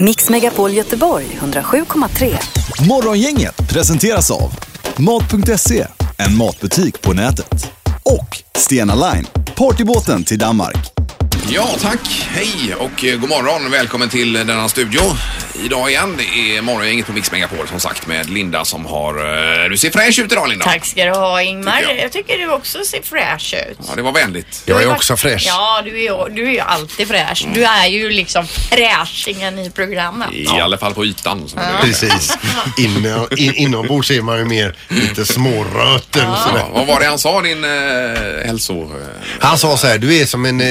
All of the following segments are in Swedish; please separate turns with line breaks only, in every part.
Mix Megapol Göteborg 107,3.
Morgongänget presenteras av Mat.se, en matbutik på nätet. Och Stena Line, partybåten till Danmark.
Ja, tack. Hej och eh, god morgon. Välkommen till eh, denna studio. Idag igen, det är morgongänget på Mix Megapol som sagt med Linda som har... eh, Du ser fräsch ut idag Linda.
Tack ska du ha Ingmar.
Tycker jag.
jag. tycker du också ser fräsch ut.
Ja, det var vänligt.
Du har
Jag
ju
är
varit-
också fräsch. Mm.
Ja, du är, du är ju alltid fräsch. Du är ju liksom fräschingen i programmet.
I alla fall på ytan. Som det brukar säga.
Precis. Inne, in, inombords är man ju mer lite småröten.
ja,
sådär.
vad var det han sa, din eh, hälso... eh,
Han sa så här, du är som en eh,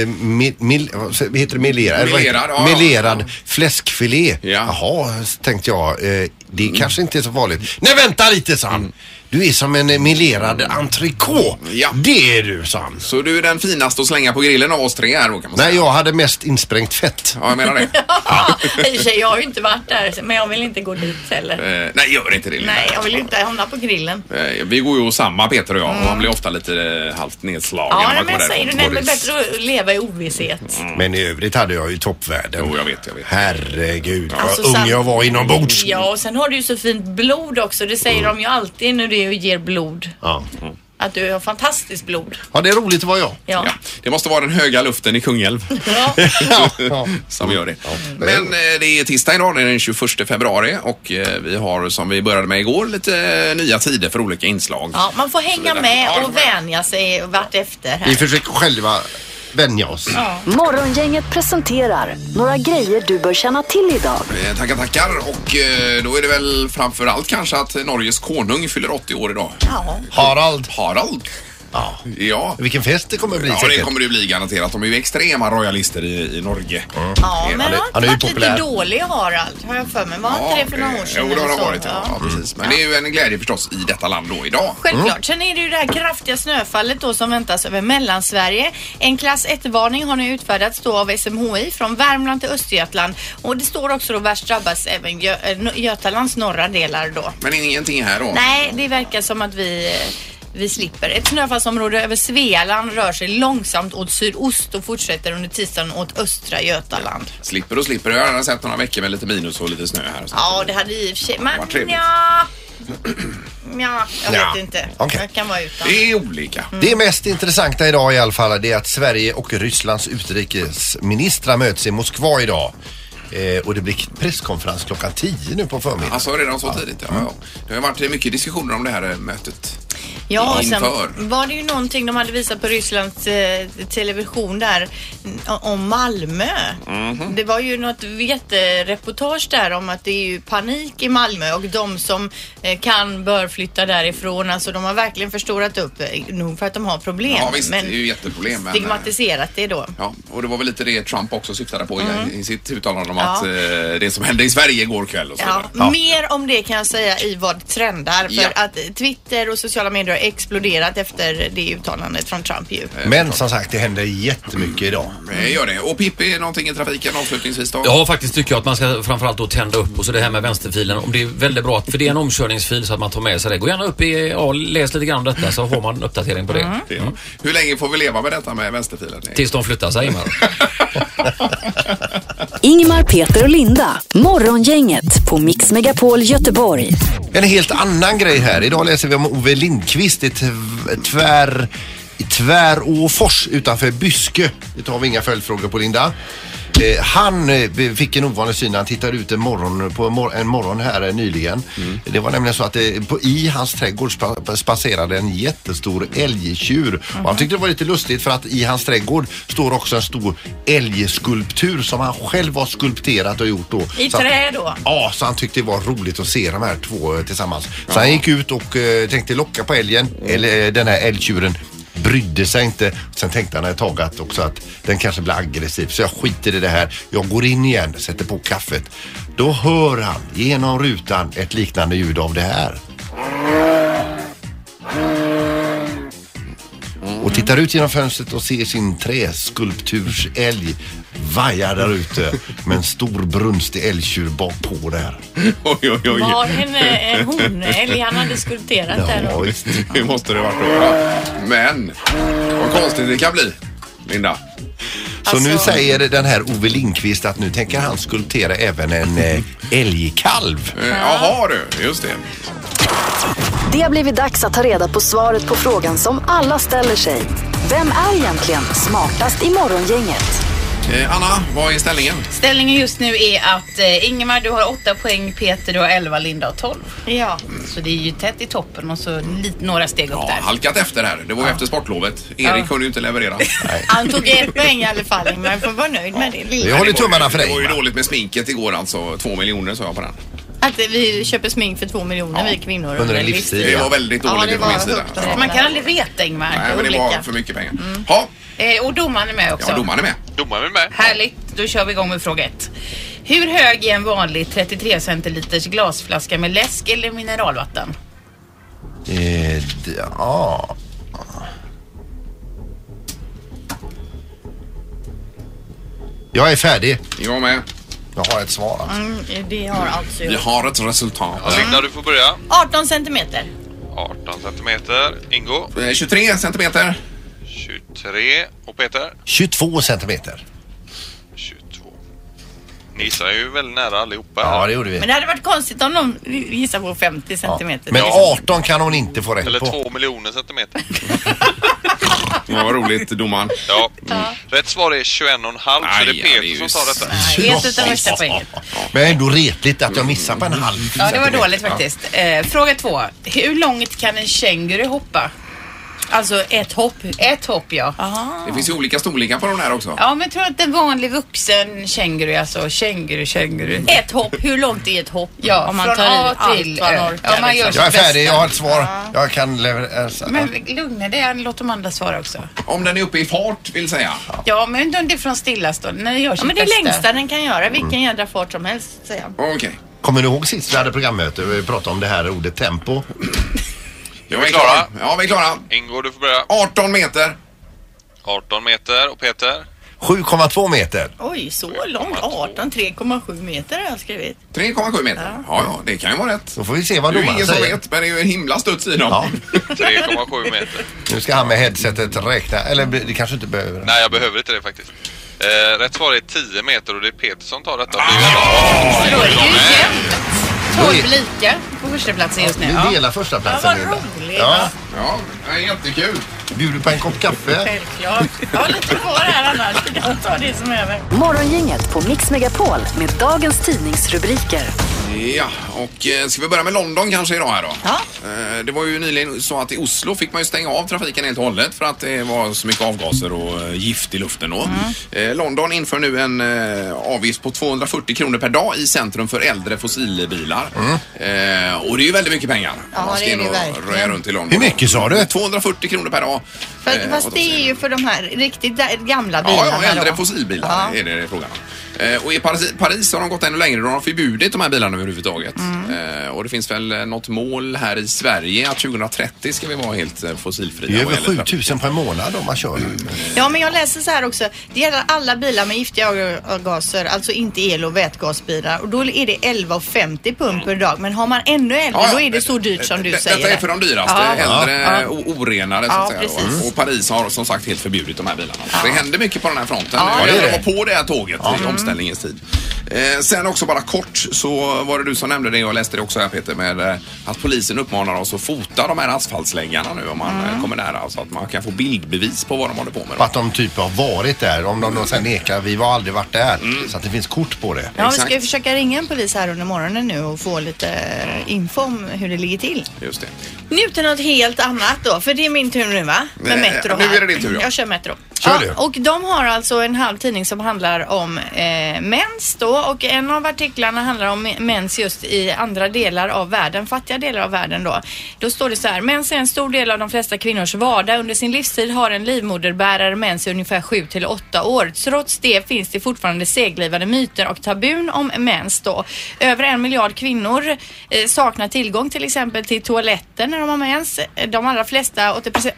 eh, mil, mil, vad heter det, melerad, Eller vad heter det?
Melerad, ja,
melerad
ja.
fläskfilé.
Ja. Mm.
Jaha, tänkte jag. Eh, det kanske inte är så farligt. Nej, vänta lite, sa han. Du är som en eh, melerad entrecote.
Ja.
Det är du, sa han.
Så du är den finaste att slänga på grillen av oss tre här då kan man säga.
Nej, jag hade mest insprängt fett.
Ja, jag menar det.
I och för sig, jag har ju inte varit där men jag vill inte gå dit heller.
Eh, nej, gör inte det Linda.
Nej, jag vill ju inte hamna på grillen.
Eh, Vi går ju samma Peter och jag och han blir ofta lite eh, halvt nedslagen
Ja,
när man
men
kommer
jag säger du,
därifrån.
nej, det är
Boris. Mm.
bättre att leva i ovisshet.
Men i övrigt hade jag ju toppvärden.
Jo, jag vet, jag vet.
Herregud, vad
Alltså,
ung
sam-
jag var inombords. Mm.
Ja, och sen har du ju så fint blod också. Det säger de ju alltid när du ger blod.
Ja.
Att du har fantastiskt blod.
ja, det är roligt att vara jag.
Ja.
Ja, det måste vara den höga luften i Kungälv.
ja.
som gör det. Men eh, det är tisdag idag, det är den 21 februari och eh, vi har som vi började med igår lite eh, nya tider för olika inslag.
Ja, man får hänga med
Ja,
och vänja sig vart efter
Vi
här.
försöker själva vänja oss.
Morgongänget presenterar några grejer du bör känna till idag.
Eh, Tackar, tackar. Och eh, då är det väl framför allt kanske att Norges konung fyller 80 år idag.
Ja.
Harald.
Harald.
Ja.
Ja.
Vilken fest det kommer bli
Ja, det
säkert.
kommer det ju bli garanterat. De är ju extrema royalister i, i Norge.
Ja, men han har
Han är
inte
ju
varit lite
populär.
dålig Harald, har jag för mig. Var inte det för några år sedan?
eh, Jo, det har
eller
det
så?
varit. Ja. Ja, precis. Men det är ju en glädje förstås i detta land då idag.
Självklart. Sen är det ju det här kraftiga snöfallet då som väntas över Mellansverige. En klass 1-varning har nu utfärdats då av SMHI från Värmland till Östergötland. Och det står också då värst drabbas även Gö eh, Nor- Götalands norra delar då.
Men ingenting här då.
Nej, det verkar som att vi eh, vi slipper. Ett snöfallsområde över Svealand rör sig långsamt åt sydost och fortsätter under tisdagen åt östra Götaland.
Slipper och slipper. Jag har redan sett några veckor med lite minus och lite snö här. och så.
Ja, det hade i och för sig...
Vad
Men
trevligt.
ja. ja, jag
Nja,
vet inte.
okej.
Jag kan vara utan.
Det är olika.
Det mest intressanta idag i alla fall det är att Sverige och Rysslands utrikesministrar möts i Moskva idag. Eh, och det blir presskonferens klockan 10 nu på förmiddagen.
Alltså redan så tidigt, ja.
Mm.
ja. Det har varit mycket diskussioner om det här eh, mötet.
Ja, och sen
Inför.
var det ju någonting de hade visat på Rysslands eh, television där mm, om Malmö.
Mhm.
Det var ju något jättereportage där om att det är ju panik i Malmö och de som eh, kan bör flytta därifrån. Alltså de har verkligen förstorat upp, eh, nog för att de har problem.
Ja visst,
men
det är ju jätteproblem. Men, eh,
stigmatiserat det då.
ja, och det var väl lite det Trump också syftade på i- i sitt uttalande om
Mm. Ja.
att eh, det som hände i Sverige igår kväll och så
Ja,
vidare.
Mer om det kan jag säga i vad trendar. För
Ja.
att Twitter och sociala medier har exploderat efter det uttalandet från Trump ju.
Men som sagt, det händer jättemycket idag.
Mm.
Eh, Gör det. Och Pippi, någonting i trafiken avslutningsvis då?
Ja, faktiskt tycker jag att man ska framförallt då tända upp och så det här med vänsterfilen. Om det är väldigt bra, att- för det är en omkörningsfil så att man tar med sig det. Gå gärna upp i, ja, läs lite grann om detta så har man en uppdatering på det.
Mm.
Ja. Hur länge får vi leva med detta med vänsterfilen?
Tills de flyttar sig, Ingmar.
Ingmar, Peter och Linda. Morgongänget på Mix Megapol Göteborg.
En helt annan grej här. Idag läser vi om Ove Lindqvist i tv- tvär, i Tväråfors utanför Byske. Det tar vi inga följdfrågor på Linda. Eh, han eh, fick en ovanlig syn. Han tittade ut en morgon, på en, mor- en morgon här eh, nyligen.
Mm.
Det var nämligen så att eh, på, i hans trädgård spa- spatserade en jättestor älgtjur. Och
Mm.
han tyckte det var lite lustigt för att i hans trädgård står också en stor älgskulptur som han själv har skulpterat och gjort då.
I
Så att-
trä då.
Ja, så han tyckte det var roligt att se de här två eh, tillsammans. Så han gick ut och eh, tänkte locka på älgen, eller eh, den här älgtjuren. Brydde sig inte. Sen tänkte han ett tag att också att den kanske blir aggressiv. Så jag skiter i det här. Jag går in igen, sätter på kaffet. Då hör han genom rutan ett liknande ljud av det här. Och tittar ut genom fönstret och ser sin träskulptursälg vaja där ute med en stor brunstig älgtjur bakpå där.
Oj, oj, oj.
Var en, eh, en honälg han hade skulpterat där
Ja,
då.
visst.
Det måste det varit då. Ja. Men, vad konstigt det kan bli. Linda.
Så nu
Alltså-
säger den här Ove Lindqvist att nu tänker han skulptera även en eh, älgkalv.
Eh, Jaha du, just det.
Det har blivit dags att ta reda på svaret på frågan som alla ställer sig. Vem är egentligen smartast i morgongänget?
Eh, Anna, vad är ställningen?
Ställningen just nu är att eh, Ingemar du har 8 poäng, Peter du har 11, Linda har 12.
Eh,
Ja.
Så det är ju tätt i toppen och så lite, några steg upp
Ja,
där.
halkat efter här. Det var ju efter sportlovet. Erik kunde ju inte leverera.
Han tog ett poäng i alla fall, men jag får vara nöjd med det.
Vi
lilla.
håller
Det var ju-
Eh, tummarna för
Det var ju
dig.
dåligt med sminket igår alltså. Två miljoner sa jag på den.
Att vi köper smink för två miljoner, vi kvinnor.
Under en
Visst.
livstid.
Det
Ja.
var väldigt
Ja,
dåligt
det
från min
var
sida.
högt.
Ja.
Man kan aldrig veta Ingemar.
Nej,
är
men det var
olika.
för mycket pengar. Ja,
Eh, och domaren är med också.
ja domaren är med.
Domaren är med.
Härligt, då kör vi igång med fråga ett. Hur hög är en vanlig 33 centiliters glasflaska med läsk eller mineralvatten?
Eh, d- ja. Jag är färdig.
Jag med.
Jag har ett svar. Alltså.
Mm, det har alltså
Vi
jag.
har ett resultat.
Ja, Linda, du får börja.
18 centimeter.
18 centimeter. Ingo,
Eh, 23 centimeter.
23. Och Peter,
22 centimeter.
22. Ni gissar ju väldigt nära allihopa.
Ja, det gjorde vi.
Men det hade varit konstigt om någon gissar på 50
Ja.
centimeter. liksom-
Men 18 kan hon inte få rätt
Eller
på.
2 miljoner centimeter.
Ja, vad roligt domaren.
Ja. Rätt svar är 21,5 så det
Aj,
är
ja, det är
Peter
ju
som tar detta.
Nej, ett utav värsta poängen.
Men ändå retligt att jag missar på en halv.
Mm.
Ja, det var
centimeter.
dåligt faktiskt. Eh, fråga två. Hur långt kan en känguru hoppa?
Alltså ett hopp.
Ett hopp, ja.
Det finns ju olika storlekar på de där också.
Ja, men tror att en vanlig vuxen känguru, alltså känguru, känguru.
Ett hopp, hur långt är ett hopp?
Ja,
om man
från
tar i
A till
allt vad
Ö.
man orkar.
Ja, man gör
liksom.
så.
Jag är färdig,
Bästa.
jag har ett svar. Jag kan leverera.
Men lugna dig, låt de andra svara också.
Om den är uppe i fart vill säga.
Ja, men det är från stillastående. När jag gör
Ja,
sitt
men det är
bästa.
längsta den kan göra,
Mm.
vilken jädra fart som helst säger jag.
Okej.
Kommer ni ihåg sist vi hade programmöte och vi pratade om det här ordet tempo?
Jag
Är vi klara?
Ja, vi är klara.
Ingo, du får börja.
18 meter.
18 meter. Och Peter,
7,2 meter.
Oj, så långt? 18, 3,7 meter har jag skrivit.
3,7 meter. Ja, ja, det kan ju vara rätt.
Då får vi se vad
Det är ju
domaren
ingen som
säger.
vet, men det är ju en himla studs i dem.
Ja,
3,7 meter.
nu ska han med headsetet räkna. Eller det kanske inte behöver.
Nej, jag behöver inte det faktiskt. Eh, rätt svar är 10 meter och det är Peter som tar detta. Det är ju alla.
Då är det ju jämnt. 12 lika på första platsen just nu.
Vi
Ja.
delar första
Ja,
platsen
vad
Linda.
roligt.
Ja,
Ja, det är jättekul.
bjuder på en kopp kaffe.
Självklart. Jag har lite kvar här annars. Du kan ta det som är över.
Morgongänget på Mix Megapol med dagens tidningsrubriker.
Ja, och eh, ska vi börja med London kanske idag här då?
Ja.
Eh, Det var ju nyligen så att i Oslo fick man ju stänga av trafiken helt och hållet för att det var så mycket avgaser och eh, gift i luften då.
Mm.
Eh, London inför nu en eh, avgift på 240 kronor per dag i centrum för äldre fossilbilar.
Mm.
Eh, Och det är ju väldigt mycket pengar.
Ja,
Man
det är
in
det
och
verkligen.
röja runt i London.
Hur mycket sa du?
240 kronor per dag.
Fast,
Eh,
fast
och
det
då-
är ju för de här riktigt där- gamla bilarna.
Ja, ja, äldre
då.
fossilbilar
Ja.
är det frågan om. Eh, Och i Paris, Paris har de gått ännu längre. De har förbjudit de här bilarna överhuvudtaget.
Mm.
Eh, Och det finns väl eh, något mål här i Sverige att 2030 ska vi vara helt eh, fossilfria.
Det är ju
vad
över
gäller trafik.
7000 per månad om man kör.
Ja, men jag läser så här också. Det gäller alla bilar med giftiga avgaser, alltså inte el och vätgasbilar. Och då är det 11,50 pund per dag. Men har man ännu äldre,
Ja, ja.
då är det så dyrt som du
Detta
säger.
Detta är för de dyraste,
Ja.
äldre
Ja.
och orenare. Så att
Ja,
säga. då.
precis.
Och Paris har som sagt helt förbjudit de här bilarna. Så det händer mycket på den här fronten.
Ja,
Jag
det är
gärna
det.
var på det här tåget i
Mm.
omställningens tid. Eh, sen också bara kort så var det du som nämnde det och jag läste det också här Peter med eh, att polisen uppmanar oss att fota de här asfaltslängarna nu om man
Mm.
eh, kommer nära så att man kan få bildbevis på vad de håller på med.
På
Då.
Att de typ har varit där. Om de då sen nekar, vi var aldrig varit där. Så att det finns kort på det.
Ja, vi
Exakt.
ska ju försöka ringa en polis här under morgonen nu och få lite eh, info om hur det ligger till.
Just det.
Nu till något helt annat då, för det är min tur nu va? Med
Nej,
Metro
nu
här.
är det din tur, ja.
Jag kör Metro.
Kör du.
och de har alltså en halv tidning som handlar om eh, mens då och en av artiklarna handlar om mens just i andra delar av världen, fattiga delar av världen då. Då står det så här, mens är en stor del av de flesta kvinnors vardag. Under sin livstid har en livmoderbärare mens i ungefär 7 till 8 år. Trots det finns det fortfarande seglivade myter och tabun om mens då. Över en miljard kvinnor eh, saknar tillgång till exempel till toaletten när de har mens. De allra flesta, 80%,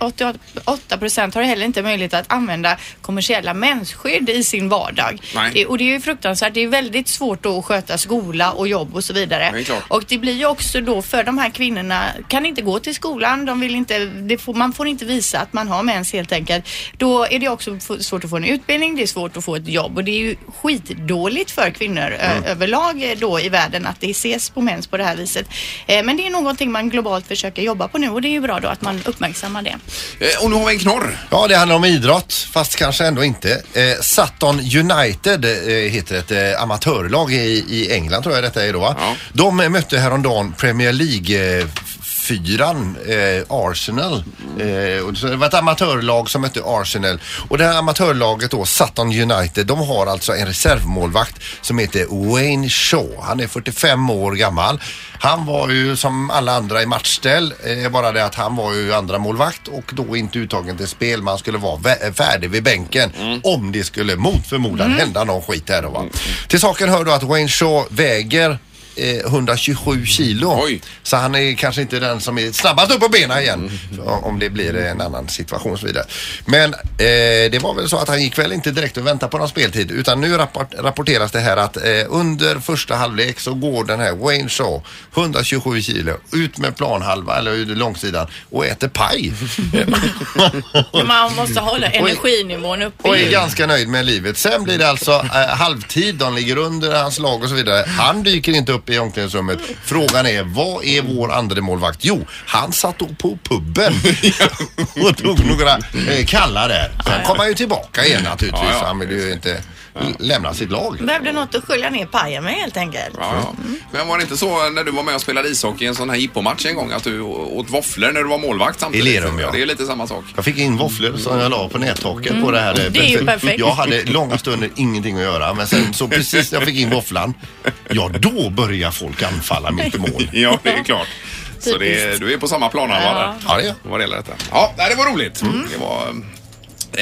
88% har heller inte möjlighet att använda använda kommersiella mensskydd i sin vardag.
Nej.
Det, och det är ju fruktansvärt. Det är väldigt svårt då att sköta skola och jobb och så vidare.
Det är klart.
och det blir ju också då för de här kvinnorna, kan inte gå till skolan, de vill inte, det får, man får inte visa att man har mens helt enkelt. Då är det också f- svårt att få en utbildning, det är svårt att få ett jobb och det är ju skitdåligt för kvinnor ö-
Mm.
överlag eh, då i världen att det ses på mens på det här viset. Eh, men det är någonting man globalt försöker jobba på nu och det är ju bra då att man uppmärksammar det.
Eh, Och nu har vi en knorr.
Ja, det handlar om idrott, fast kanske ändå inte. Eh, Sutton United eh, heter ett eh, amatörlag i, i England, tror jag detta är då. va?
Ja.
De eh, mötte häromdagen Premier League eh, fyran, eh, Arsenal. Eh, och så det var ett amatörlag som mötte Arsenal. Och det här amatörlaget då, Sutton United, de har alltså en reservmålvakt som heter Wayne Shaw. Han är 45 år gammal. Han var ju som alla andra i matchställ, eh, bara det att han var ju andra målvakt och då inte uttagen till spel. Man skulle vara vä- färdig vid bänken om det skulle mot förmodan hända någon skit här då va. Till saken hör då att Wayne Shaw väger eh, 127 kilo.
Oj.
Så han är kanske inte den som är snabbast upp på benen igen. Om det blir en annan situation och så vidare. Men eh, det var väl så att han gick väl inte direkt och väntade på någon speltid utan nu rapport, rapporteras det här att eh, under första halvlek så går den här Wayne Shaw 127 kilo ut med planhalva eller ut långsidan och äter paj.
Man måste hålla energinivån uppe.
Och är ganska nöjd med livet. Sen blir det alltså eh, halvtid, de ligger under hans lag och så vidare. Han dyker inte upp i omklädningsrummet. Frågan är, vad är vår andre målvakt? Jo, han satt då på puben och tog några eh, kalla där. Sen kom han ju tillbaka igen naturligtvis.
Ja, ja.
Han vill ju inte lämna sitt lag.
Behövde något att skölja ner pajen med helt enkelt.
Ja, ja.
Mm.
Men var det inte så när du var med och spelade ishockey i en sån här jippomatch en gång att du å- åt våfflor när du var målvakt samtidigt?
I Lerum, ja.
Det är lite samma sak.
Jag fick in våfflor som jag la på nättaket på det här. eh,
Det är ju
för-
perfekt.
Jag hade långa stunder ingenting att göra men sen så precis när jag fick in våfflan, ja då börjar folk anfalla mitt i mål.
Ja, det är klart. Så det är, du är på samma plan ja. där.
Ja, det är jag.
Vad det gäller detta. Ja, nej, det var roligt. Det var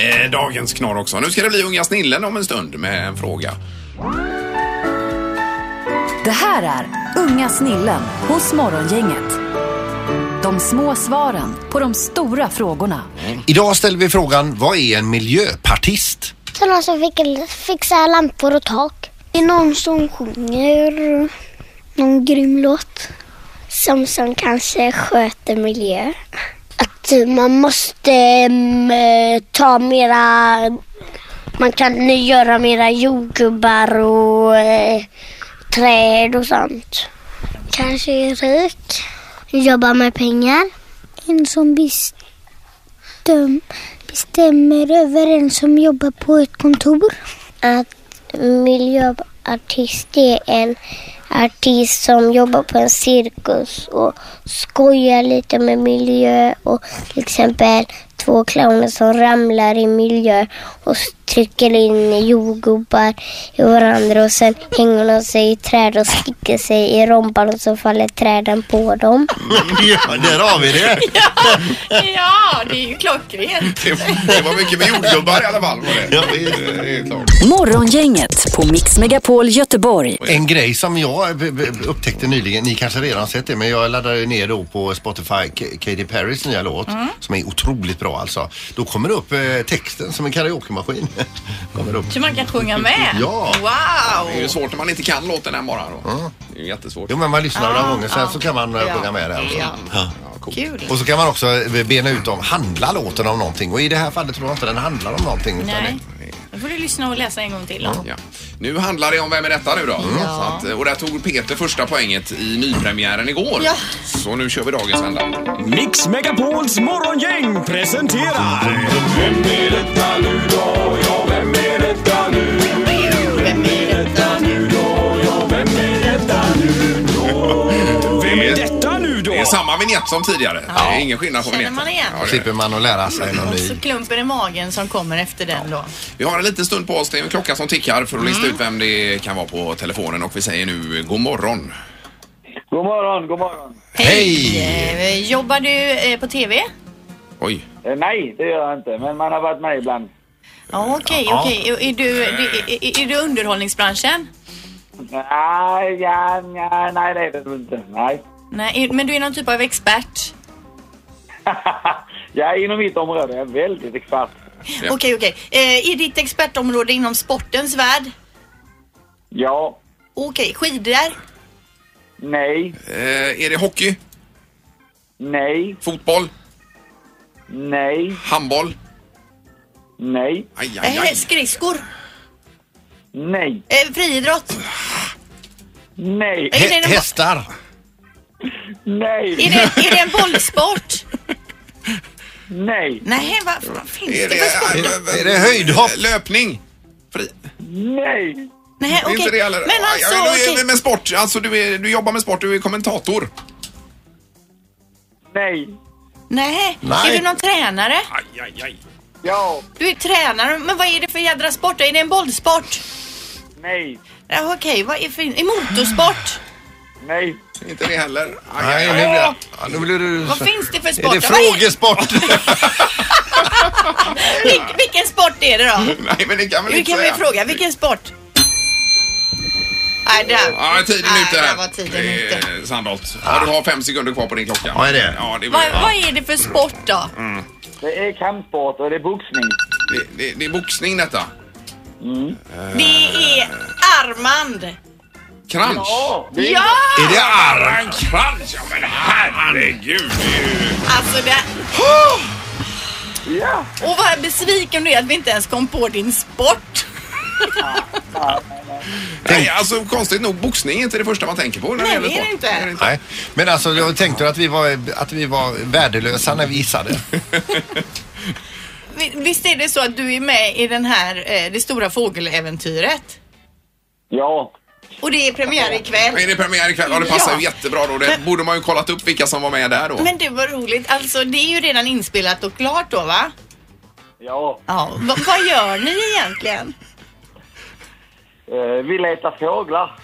eh, dagens knorr också. Nu ska det bli Unga snillen om en stund med en fråga.
Det här är Unga snillen hos Morgongänget. De små svaren på de stora frågorna.
Idag ställer vi frågan, vad är en miljöpartist?
Sådana som fick- fixar lampor och tak. Det är någon som sjunger någon grym låt. Som, som kanske sköter miljö. Att man måste mm, eh, ta mera... Man kan göra mera jordgubbar och eh, träd och sånt. Kanske är rik. Jobbar med pengar. En som visst de bestämmer över en som jobbar på ett kontor. Att miljöartist är en artist som jobbar på en cirkus och skojar lite med miljö och till exempel två clowner som ramlar i miljö och trycker in jordgubbar i varandra och sen hänger de sig i träd och sticker sig i rumpan och så faller träden på dem.
Ja, där har vi det.
Ja, det är ju klockrent.
Det, det var mycket med jordgubbar i alla fall. Var det.
Ja, visst.
Det är klart.
Morgongänget på Mix Megapol Göteborg.
En grej som jag b- b- upptäckte nyligen, ni kanske redan har sett det, men jag laddade ju ner då på Spotify K- Katy Perrys nya låt
Mm.
som är otroligt bra alltså. Då kommer det upp eh, texten som en karaokemaskin. kommer upp.
Så man kan sjunga med.
Ja.
Wow!
Det är ju svårt när man inte kan låten än bara. Då. Det är ju jättesvårt.
Jo men man lyssnar några
Ah,
gånger sen
ah.
så kan man eh, sjunga med det. Alltså.
Ja.
Ja.
Kul.
Och så kan man också eh, bena ut om, handlar låten om någonting? Och i det här fallet tror jag inte den handlar om någonting. utan
Nej. Då får du lyssna och läsa en gång till. Då.
Ja. Nu handlar det om Vem är detta nu då? Så att, eh, och där tog Peter första poänget i nypremiären igår.
Ja.
Så nu kör vi dagens vända.
Mix Megapols morgongäng presenterar... Vem är detta nu då? Ja, vem är detta nu?
Vem är detta nu?
Ja, vem är detta nu då? Vem är detta nu då?
Det är samma vignett som tidigare. Det är ingen skillnad på
Känner
vignetten.
man igen?
Ja,
det
det är det.
Slipper man att lära sig någon ny.
Så klumpen i magen som kommer efter den då.
Vi har en liten stund på oss. Det är en klocka som tickar för att
Mm.
lista ut vem det kan vara på telefonen. Och vi säger nu eh, god morgon.
God morgon, god morgon.
Hej!
Eh, Jobbar du eh, på TV?
Oj.
Eh, nej, det gör jag inte, men man har varit med ibland.
Ja, okej, okej. Är- Är du, är, är- är du underhållningsbranschen?
Nej, ja, ja, nej, det är det väl inte. Nej.
Nej, är- men du är någon typ av expert?
jag är inom mitt område, jag är väldigt expert.
Ja.
Okej, okej. Eh, är ditt expertområde inom sportens värld?
Ja.
Okej, skidor?
Nej.
Eh, är det hockey?
Nej.
Fotboll?
Nej.
Handboll?
Nej.
Aj, aj,
Eh,
aj.
skridskor?
Nej.
Eh, friidrott?
Nej.
Är det en-
hästar.
Nej.
Är det, är det en bollsport?
Nej.
Nej, vad fan finns
Är
det
det, eh,
för sport?
Är det höjdhopp?
Löpning? Fri...
Nej.
Nej,
Är
okej.
inte det heller?
Men alltså,
Aj, aj, du är
okej.
med sport. Alltså, du, är, du jobbar med sport, du är kommentator.
Nej.
Nej.
Nej.
Är du någon tränare?
Aj, aj, aj.
Ja.
Du är tränare, men vad är det för jädra sport? Är det en bollsport?
Nej.
Ja, okej, vad är för... Är motorsport?
Nej.
Inte det heller. Aj, aj,
Nej, nu
aj.
blir det... Ja, nu blir det...
Vad finns det för
Är
sport?
det
Vad är-
frågesport?
Vil- vilken sport är det då?
Nej, men Mm. det kan väl
Nu
inte
kan vi
säga.
fråga, vilken sport? Nej, där.
Ja, tiden är
Nej,
ute här.
där var tiden
Det är
ute.
Sandholt. Ja, du har fem sekunder kvar på din klocka.
Ja, är det?
Ja, det, är
Vad,
bra.
vad är det för sport då?
Det är kampsport och det är boxning.
det, det, det är boxning detta.
Det är Armand.
Crunch.
Ja. Det är...
Ja!
Är det arm?
En crunch? Ja, men herregud. det är ju-
Alltså det...
Ja.
Och vad besviken du är att vi inte ens kom på din sport.
Nej, alltså konstigt nog, boxning är inte det första man tänker på när det
Nej,
gäller
det är det
sport.
inte.
Det är det inte.
Nej, men alltså jag tänkte att vi var, att vi var värdelösa när vi gissade.
Vi- Visst är det så att du är med i den här, eh, det stora fågeläventyret?
Ja.
Och det är premiär ikväll.
Men Är det premiär ikväll? Ja, det passar ju
Ja.
jättebra då. Det
Men-
borde man ju kollat upp vilka som var med där då.
Men det var roligt. Alltså det är ju redan inspelat och klart då va?
Ja.
Ja. Va, vad gör ni egentligen?
Eh, Vi letar fåglar.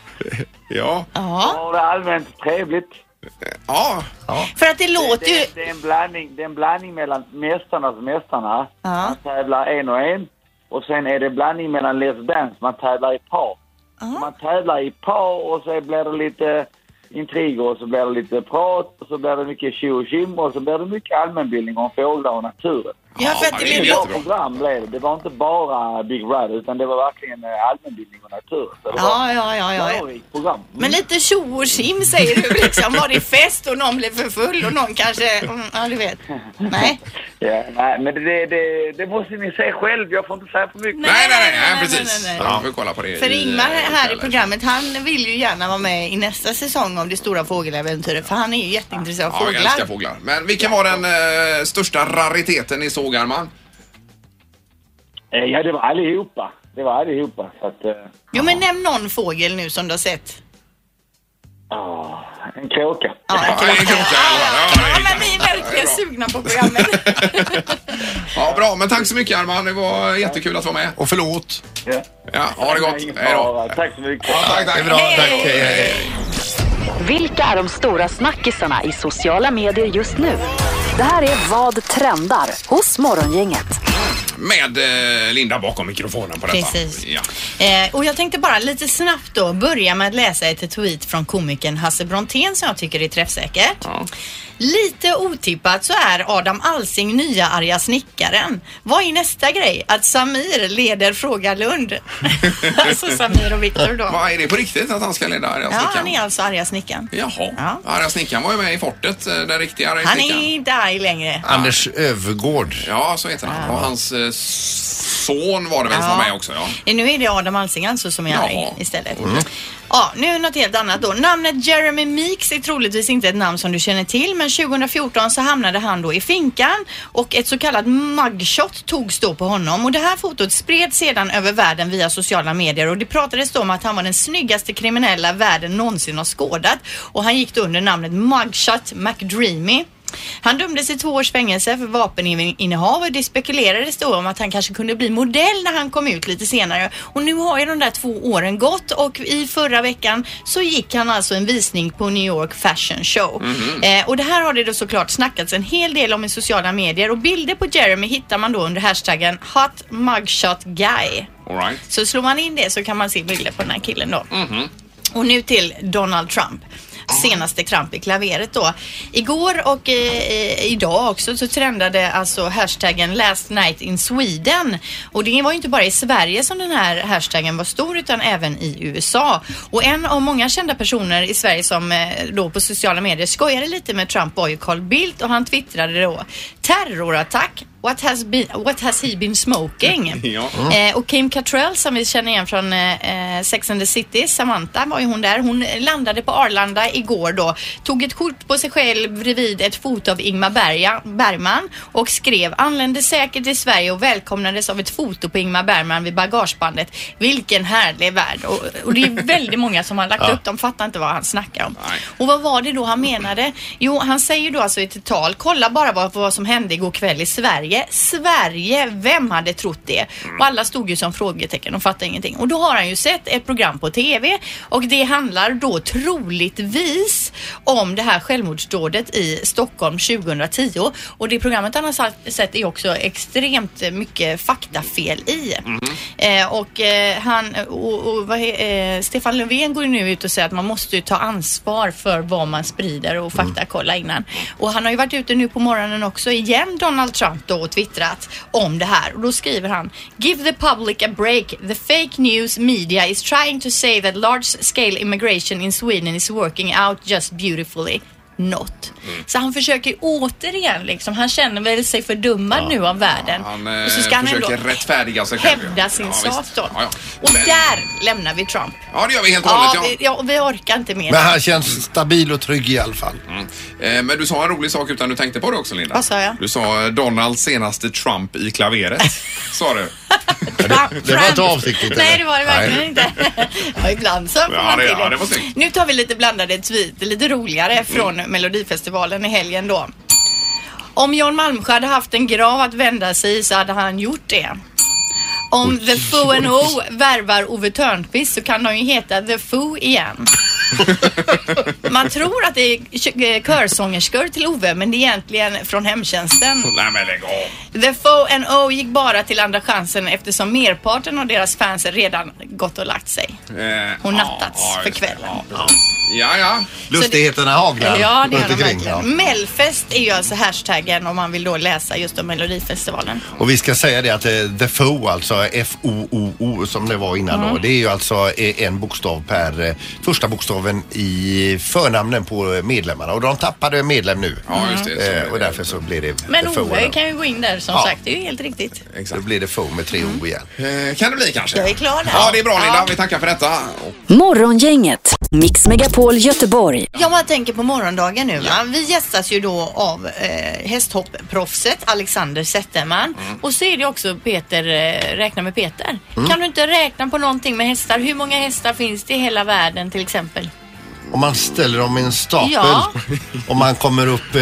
Ja.
Ja.
Ja, det är allmänt trevligt.
Ja.
För att det låter ju...
Det, det, är en blandning, det är en blandning mellan Mästarnas Mästarna.
Ja.
Man tävlar en och en. Och sen är det blandning mellan Let's Dance. Man tävlar i par. Man tävlar i par och så blir det lite intriger och så blir det lite prat och så blir det mycket tjo och tjim och så blir det mycket allmänbildning om fåglar och naturen.
Ja, för att det
det är
blir...
Bra
jättebra.
program blev det. Det var inte bara Big Brother utan det var verkligen eh, allmänbildning och natur. Så det var
Ja, ja, ja, ja.
ett
ja.
lärorikt program.
Men lite tjo och tjim säger du liksom. Var det fest och någon blev för full och någon kanske... mm, Ja, du vet. Nej.
Ja, nej, men det, det, det måste ni se själv. Jag får inte säga för mycket.
Nej, nej, nej, nej,
nej,
precis.
nej, nej.
Ja, vi får kolla på det.
För
i,
Ingmar
eh,
här i
ikväll.
programmet, han vill ju gärna vara med i nästa säsong av Det stora fågeläventyret. För han är ju jätteintresserad av
Ja, jag älskar
fåglar.
fåglar. Men vilken var den eh, största rariteten ni såg, Arman?
Eh, Ja, det var allihopa. Det var allihopa. Så att, eh,
Jo, men nämn någon fågel nu som du har sett.
ah, en kråka.
Ja, jag kan-
det är klokt,
Ja,
ja,
ja,
ja,
ja,
det är
men vi är verkligen
bra.
sugna på programmet.
Ja, bra. Men tack så mycket, Arman. Det var jättekul att vara med.
Och förlåt.
Ja.
Ja, ha det gott. Hej då.
Tack så mycket.
Ja, tack,
Det
tack.
är bra, tack. Hej, hej, hej.
Vilka är de stora snackisarna i sociala medier just nu? Det här är Vad trendar hos Morgongänget.
Med eh, Linda bakom mikrofonen på detta.
Precis.
Ja.
Eh, och jag tänkte bara lite snabbt då börja med att läsa ett tweet från komikern Hasse Brontén som jag tycker är träffsäkert. Lite otippat så är Adam Alsing nya arga snickaren. Vad är nästa grej? Att Samir leder Fråga Lund. alltså Samir och Viktor då.
Vad är det på riktigt att han ska leda arga
Ja,
snickaren?
han är alltså arga snickaren.
Jaha.
Ja.
Arga snickaren var ju med i fortet, eh, den riktiga arga
Han är
snickaren.
inte arg längre.
Anders Övergård.
Ja, så heter han. Och hans eh, son var det väl som
Ja.
var med också, ja.
Eh, Nu är det Adam Alsing alltså som är arg
Ja. Mm.
istället. Ja, nu något helt annat då. Namnet Jeremy Meeks är troligtvis inte ett namn som du känner till men 2014 så hamnade han då i finkan och ett så kallat mugshot togs då på honom och det här fotot spreds sedan över världen via sociala medier och det pratades då om att han var den snyggaste kriminella världen någonsin har skådat och han gick då under namnet Mugshot McDreamy. Han dömdes till två års fängelse för vapeninnehav och det spekulerades då om att han kanske kunde bli modell när han kom ut lite senare. Och nu har ju de där två åren gått och i förra veckan så gick han alltså en visning på New York Fashion Show.
Mhm.
eh, och det här har det då såklart snackats en hel del om i sociala medier och bilder på Jeremy hittar man då under hashtaggen Hot Mugshot Guy.
All right.
Så slår man in det så kan man se bilder på den här killen då. Och nu till Donald Trump. senaste kramp i klaveret då. Igår och eh, eh, idag också så trendade alltså hashtaggen last night in Sweden. Och det var ju inte bara i Sverige som den här hashtaggen var stor utan även i USA. Och en av många kända personer i Sverige som eh, då på sociala medier skojade lite med Trump var ju Carl Bildt och han twittrade då terrorattack What has, been, what has he been smoking?
Ja.
Eh, och Kim Cattrall som vi känner igen från eh, eh, Sex and the City, Samantha var ju hon där. Hon landade på Arlanda igår då, tog ett kort på sig själv bredvid ett foto av Ingmar Berga, Bergman och skrev anlände säkert till Sverige och välkomnades av ett foto på Ingmar Bergman vid bagagebandet. Vilken härlig värld! Och, och det är väldigt många som har lagt
Ja.
upp, de fattar inte vad han snackar om. Och vad var det då han menade? Jo, han säger då alltså i ett tal, kolla bara vad, vad som hände igår kväll i Sverige. Sverige, vem hade trott det? Och alla stod ju som frågetecken och fattade ingenting. Och då har han ju sett ett program på TV och det handlar då troligtvis om det här självmordsdådet i Stockholm 2010. Och det programmet han har sagt- sett är också extremt mycket faktafel i. Eh, och eh, han, och, och, vad, he- eh, Stefan Löfven går ju nu ut och säger att man måste ju ta ansvar för vad man sprider och
Mm.
faktakolla innan. Och han har ju varit ute nu på morgonen också igen, Donald Trump då, och twittrat om det här. Och då skriver han Give the public a break. The fake news media is trying to say that large scale immigration in Sweden is working out just beautifully. Not.
Mm.
Så han försöker återigen liksom, han känner väl sig fördummad nu av världen.
Han
Och så ska han
eh,
ändå-
försöker rättfärdiga sig själv.
hävda sin
ja,
sak
visst.
då.
Ja, ja.
Och där lämnar vi Trump.
Ja, det gör vi helt och hållet, ja.
vi- ja. och vi orkar inte mer.
Men han känns stabil och trygg i alla fall.
Eh, Men du sa en rolig sak utan du tänkte på det också Linda.
Vad sa jag?
Du sa eh, Donalds senaste Trump i klaveret. sa du.
Det var inte avsiktligt.
Nej, det var det verkligen inte. ja, ibland så får
Ja,
man
det-
till
ja, det Mm. var snyggt.
Nu tar vi lite blandade tweet, lite roligare från Melodifestivalen i helgen då. Om Jan Malmsjö hade haft en grav att vända sig i så hade han gjort det. Om The Foo and O värvar Ove Thörnqvist så kan de ju heta The Foo igen. Man tror att det är kö- körsångerskor till Ove men det är egentligen från hemtjänsten.
Nej men lägg av.
The Fo and O gick bara till andra chansen eftersom merparten av deras fans redan gått och lagt sig.
Eh,
Och
ja,
nattats
ja,
för
just-
kvällen.
Ja, ja. ja.
Lustigheterna haglar
Ja, det gör
runt
de
omkring,
verkligen. Mm.
ja.
Melfest är ju alltså hashtaggen om man vill då läsa just om Melodifestivalen.
Och vi ska säga det att eh, The Foo, alltså F-O-O-O som det var innan då.
Mm.
Det är ju alltså eh, en bokstav per, eh, första bokstaven i förnamnen på eh, medlemmarna. Och de tappade medlem nu.
Ja,
Mm.
just det. Så
Eh, Och därför så blir det
Men
The Foo.
Ove
då.
kan ju gå in där som
Ja.
sagt, det är ju helt riktigt.
Då blir det Foo med tre O igen.
Eh, Kan det bli kanske?
Jag är klar där.
Ja, det är bra Linda. Vi tackar för detta.
Morgongänget, Mix Megapol Göteborg.
Jag bara tänker på morgondagen nu. Va? Vi gästas ju då av eh, hästhoppproffset Alexander Zetterman och så är det också Peter, eh, räkna med Peter.
Mm.
Kan du inte räkna på någonting med hästar? Hur många hästar finns det i hela världen till exempel?
Om man ställer dem i en stapel.
Ja.
Om man kommer upp eh,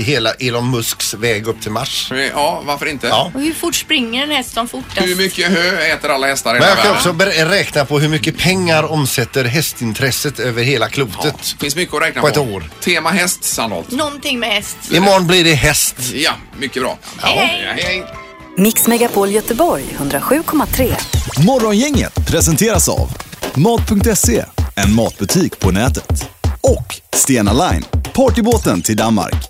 hela Elon Musks väg upp till Mars.
eh, Ja, varför inte?
Ja.
Och hur fort springer en häst som fortast?
Hur mycket hö äter alla hästar i
Men
hela
jag kan
världen?
också ber- räkna på hur mycket pengar omsätter hästintresset över hela klotet.
finns mycket att räkna
på
på.
ett år.
Tema häst sannolikt.
Någonting med häst.
Imorgon blir det häst.
Ja, mycket bra.
Hej,
hej.
Mix Megapol Göteborg 107,3.
Morgongänget presenteras av Mat.se, en matbutik på nätet. Och Stena Line, partybåten till Danmark.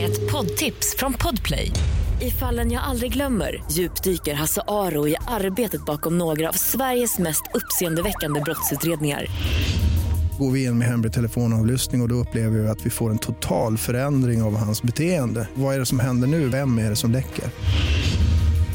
Ett poddtips från Podplay. I fallen jag aldrig glömmer djupdyker Hasse Aro i arbetet bakom några av Sveriges mest uppseendeväckande brottsutredningar.
Går vi in med hemlig telefonavlyssning och, och då upplever vi att vi får en total förändring av hans beteende. Vad är det som händer nu? Vem är det som läcker?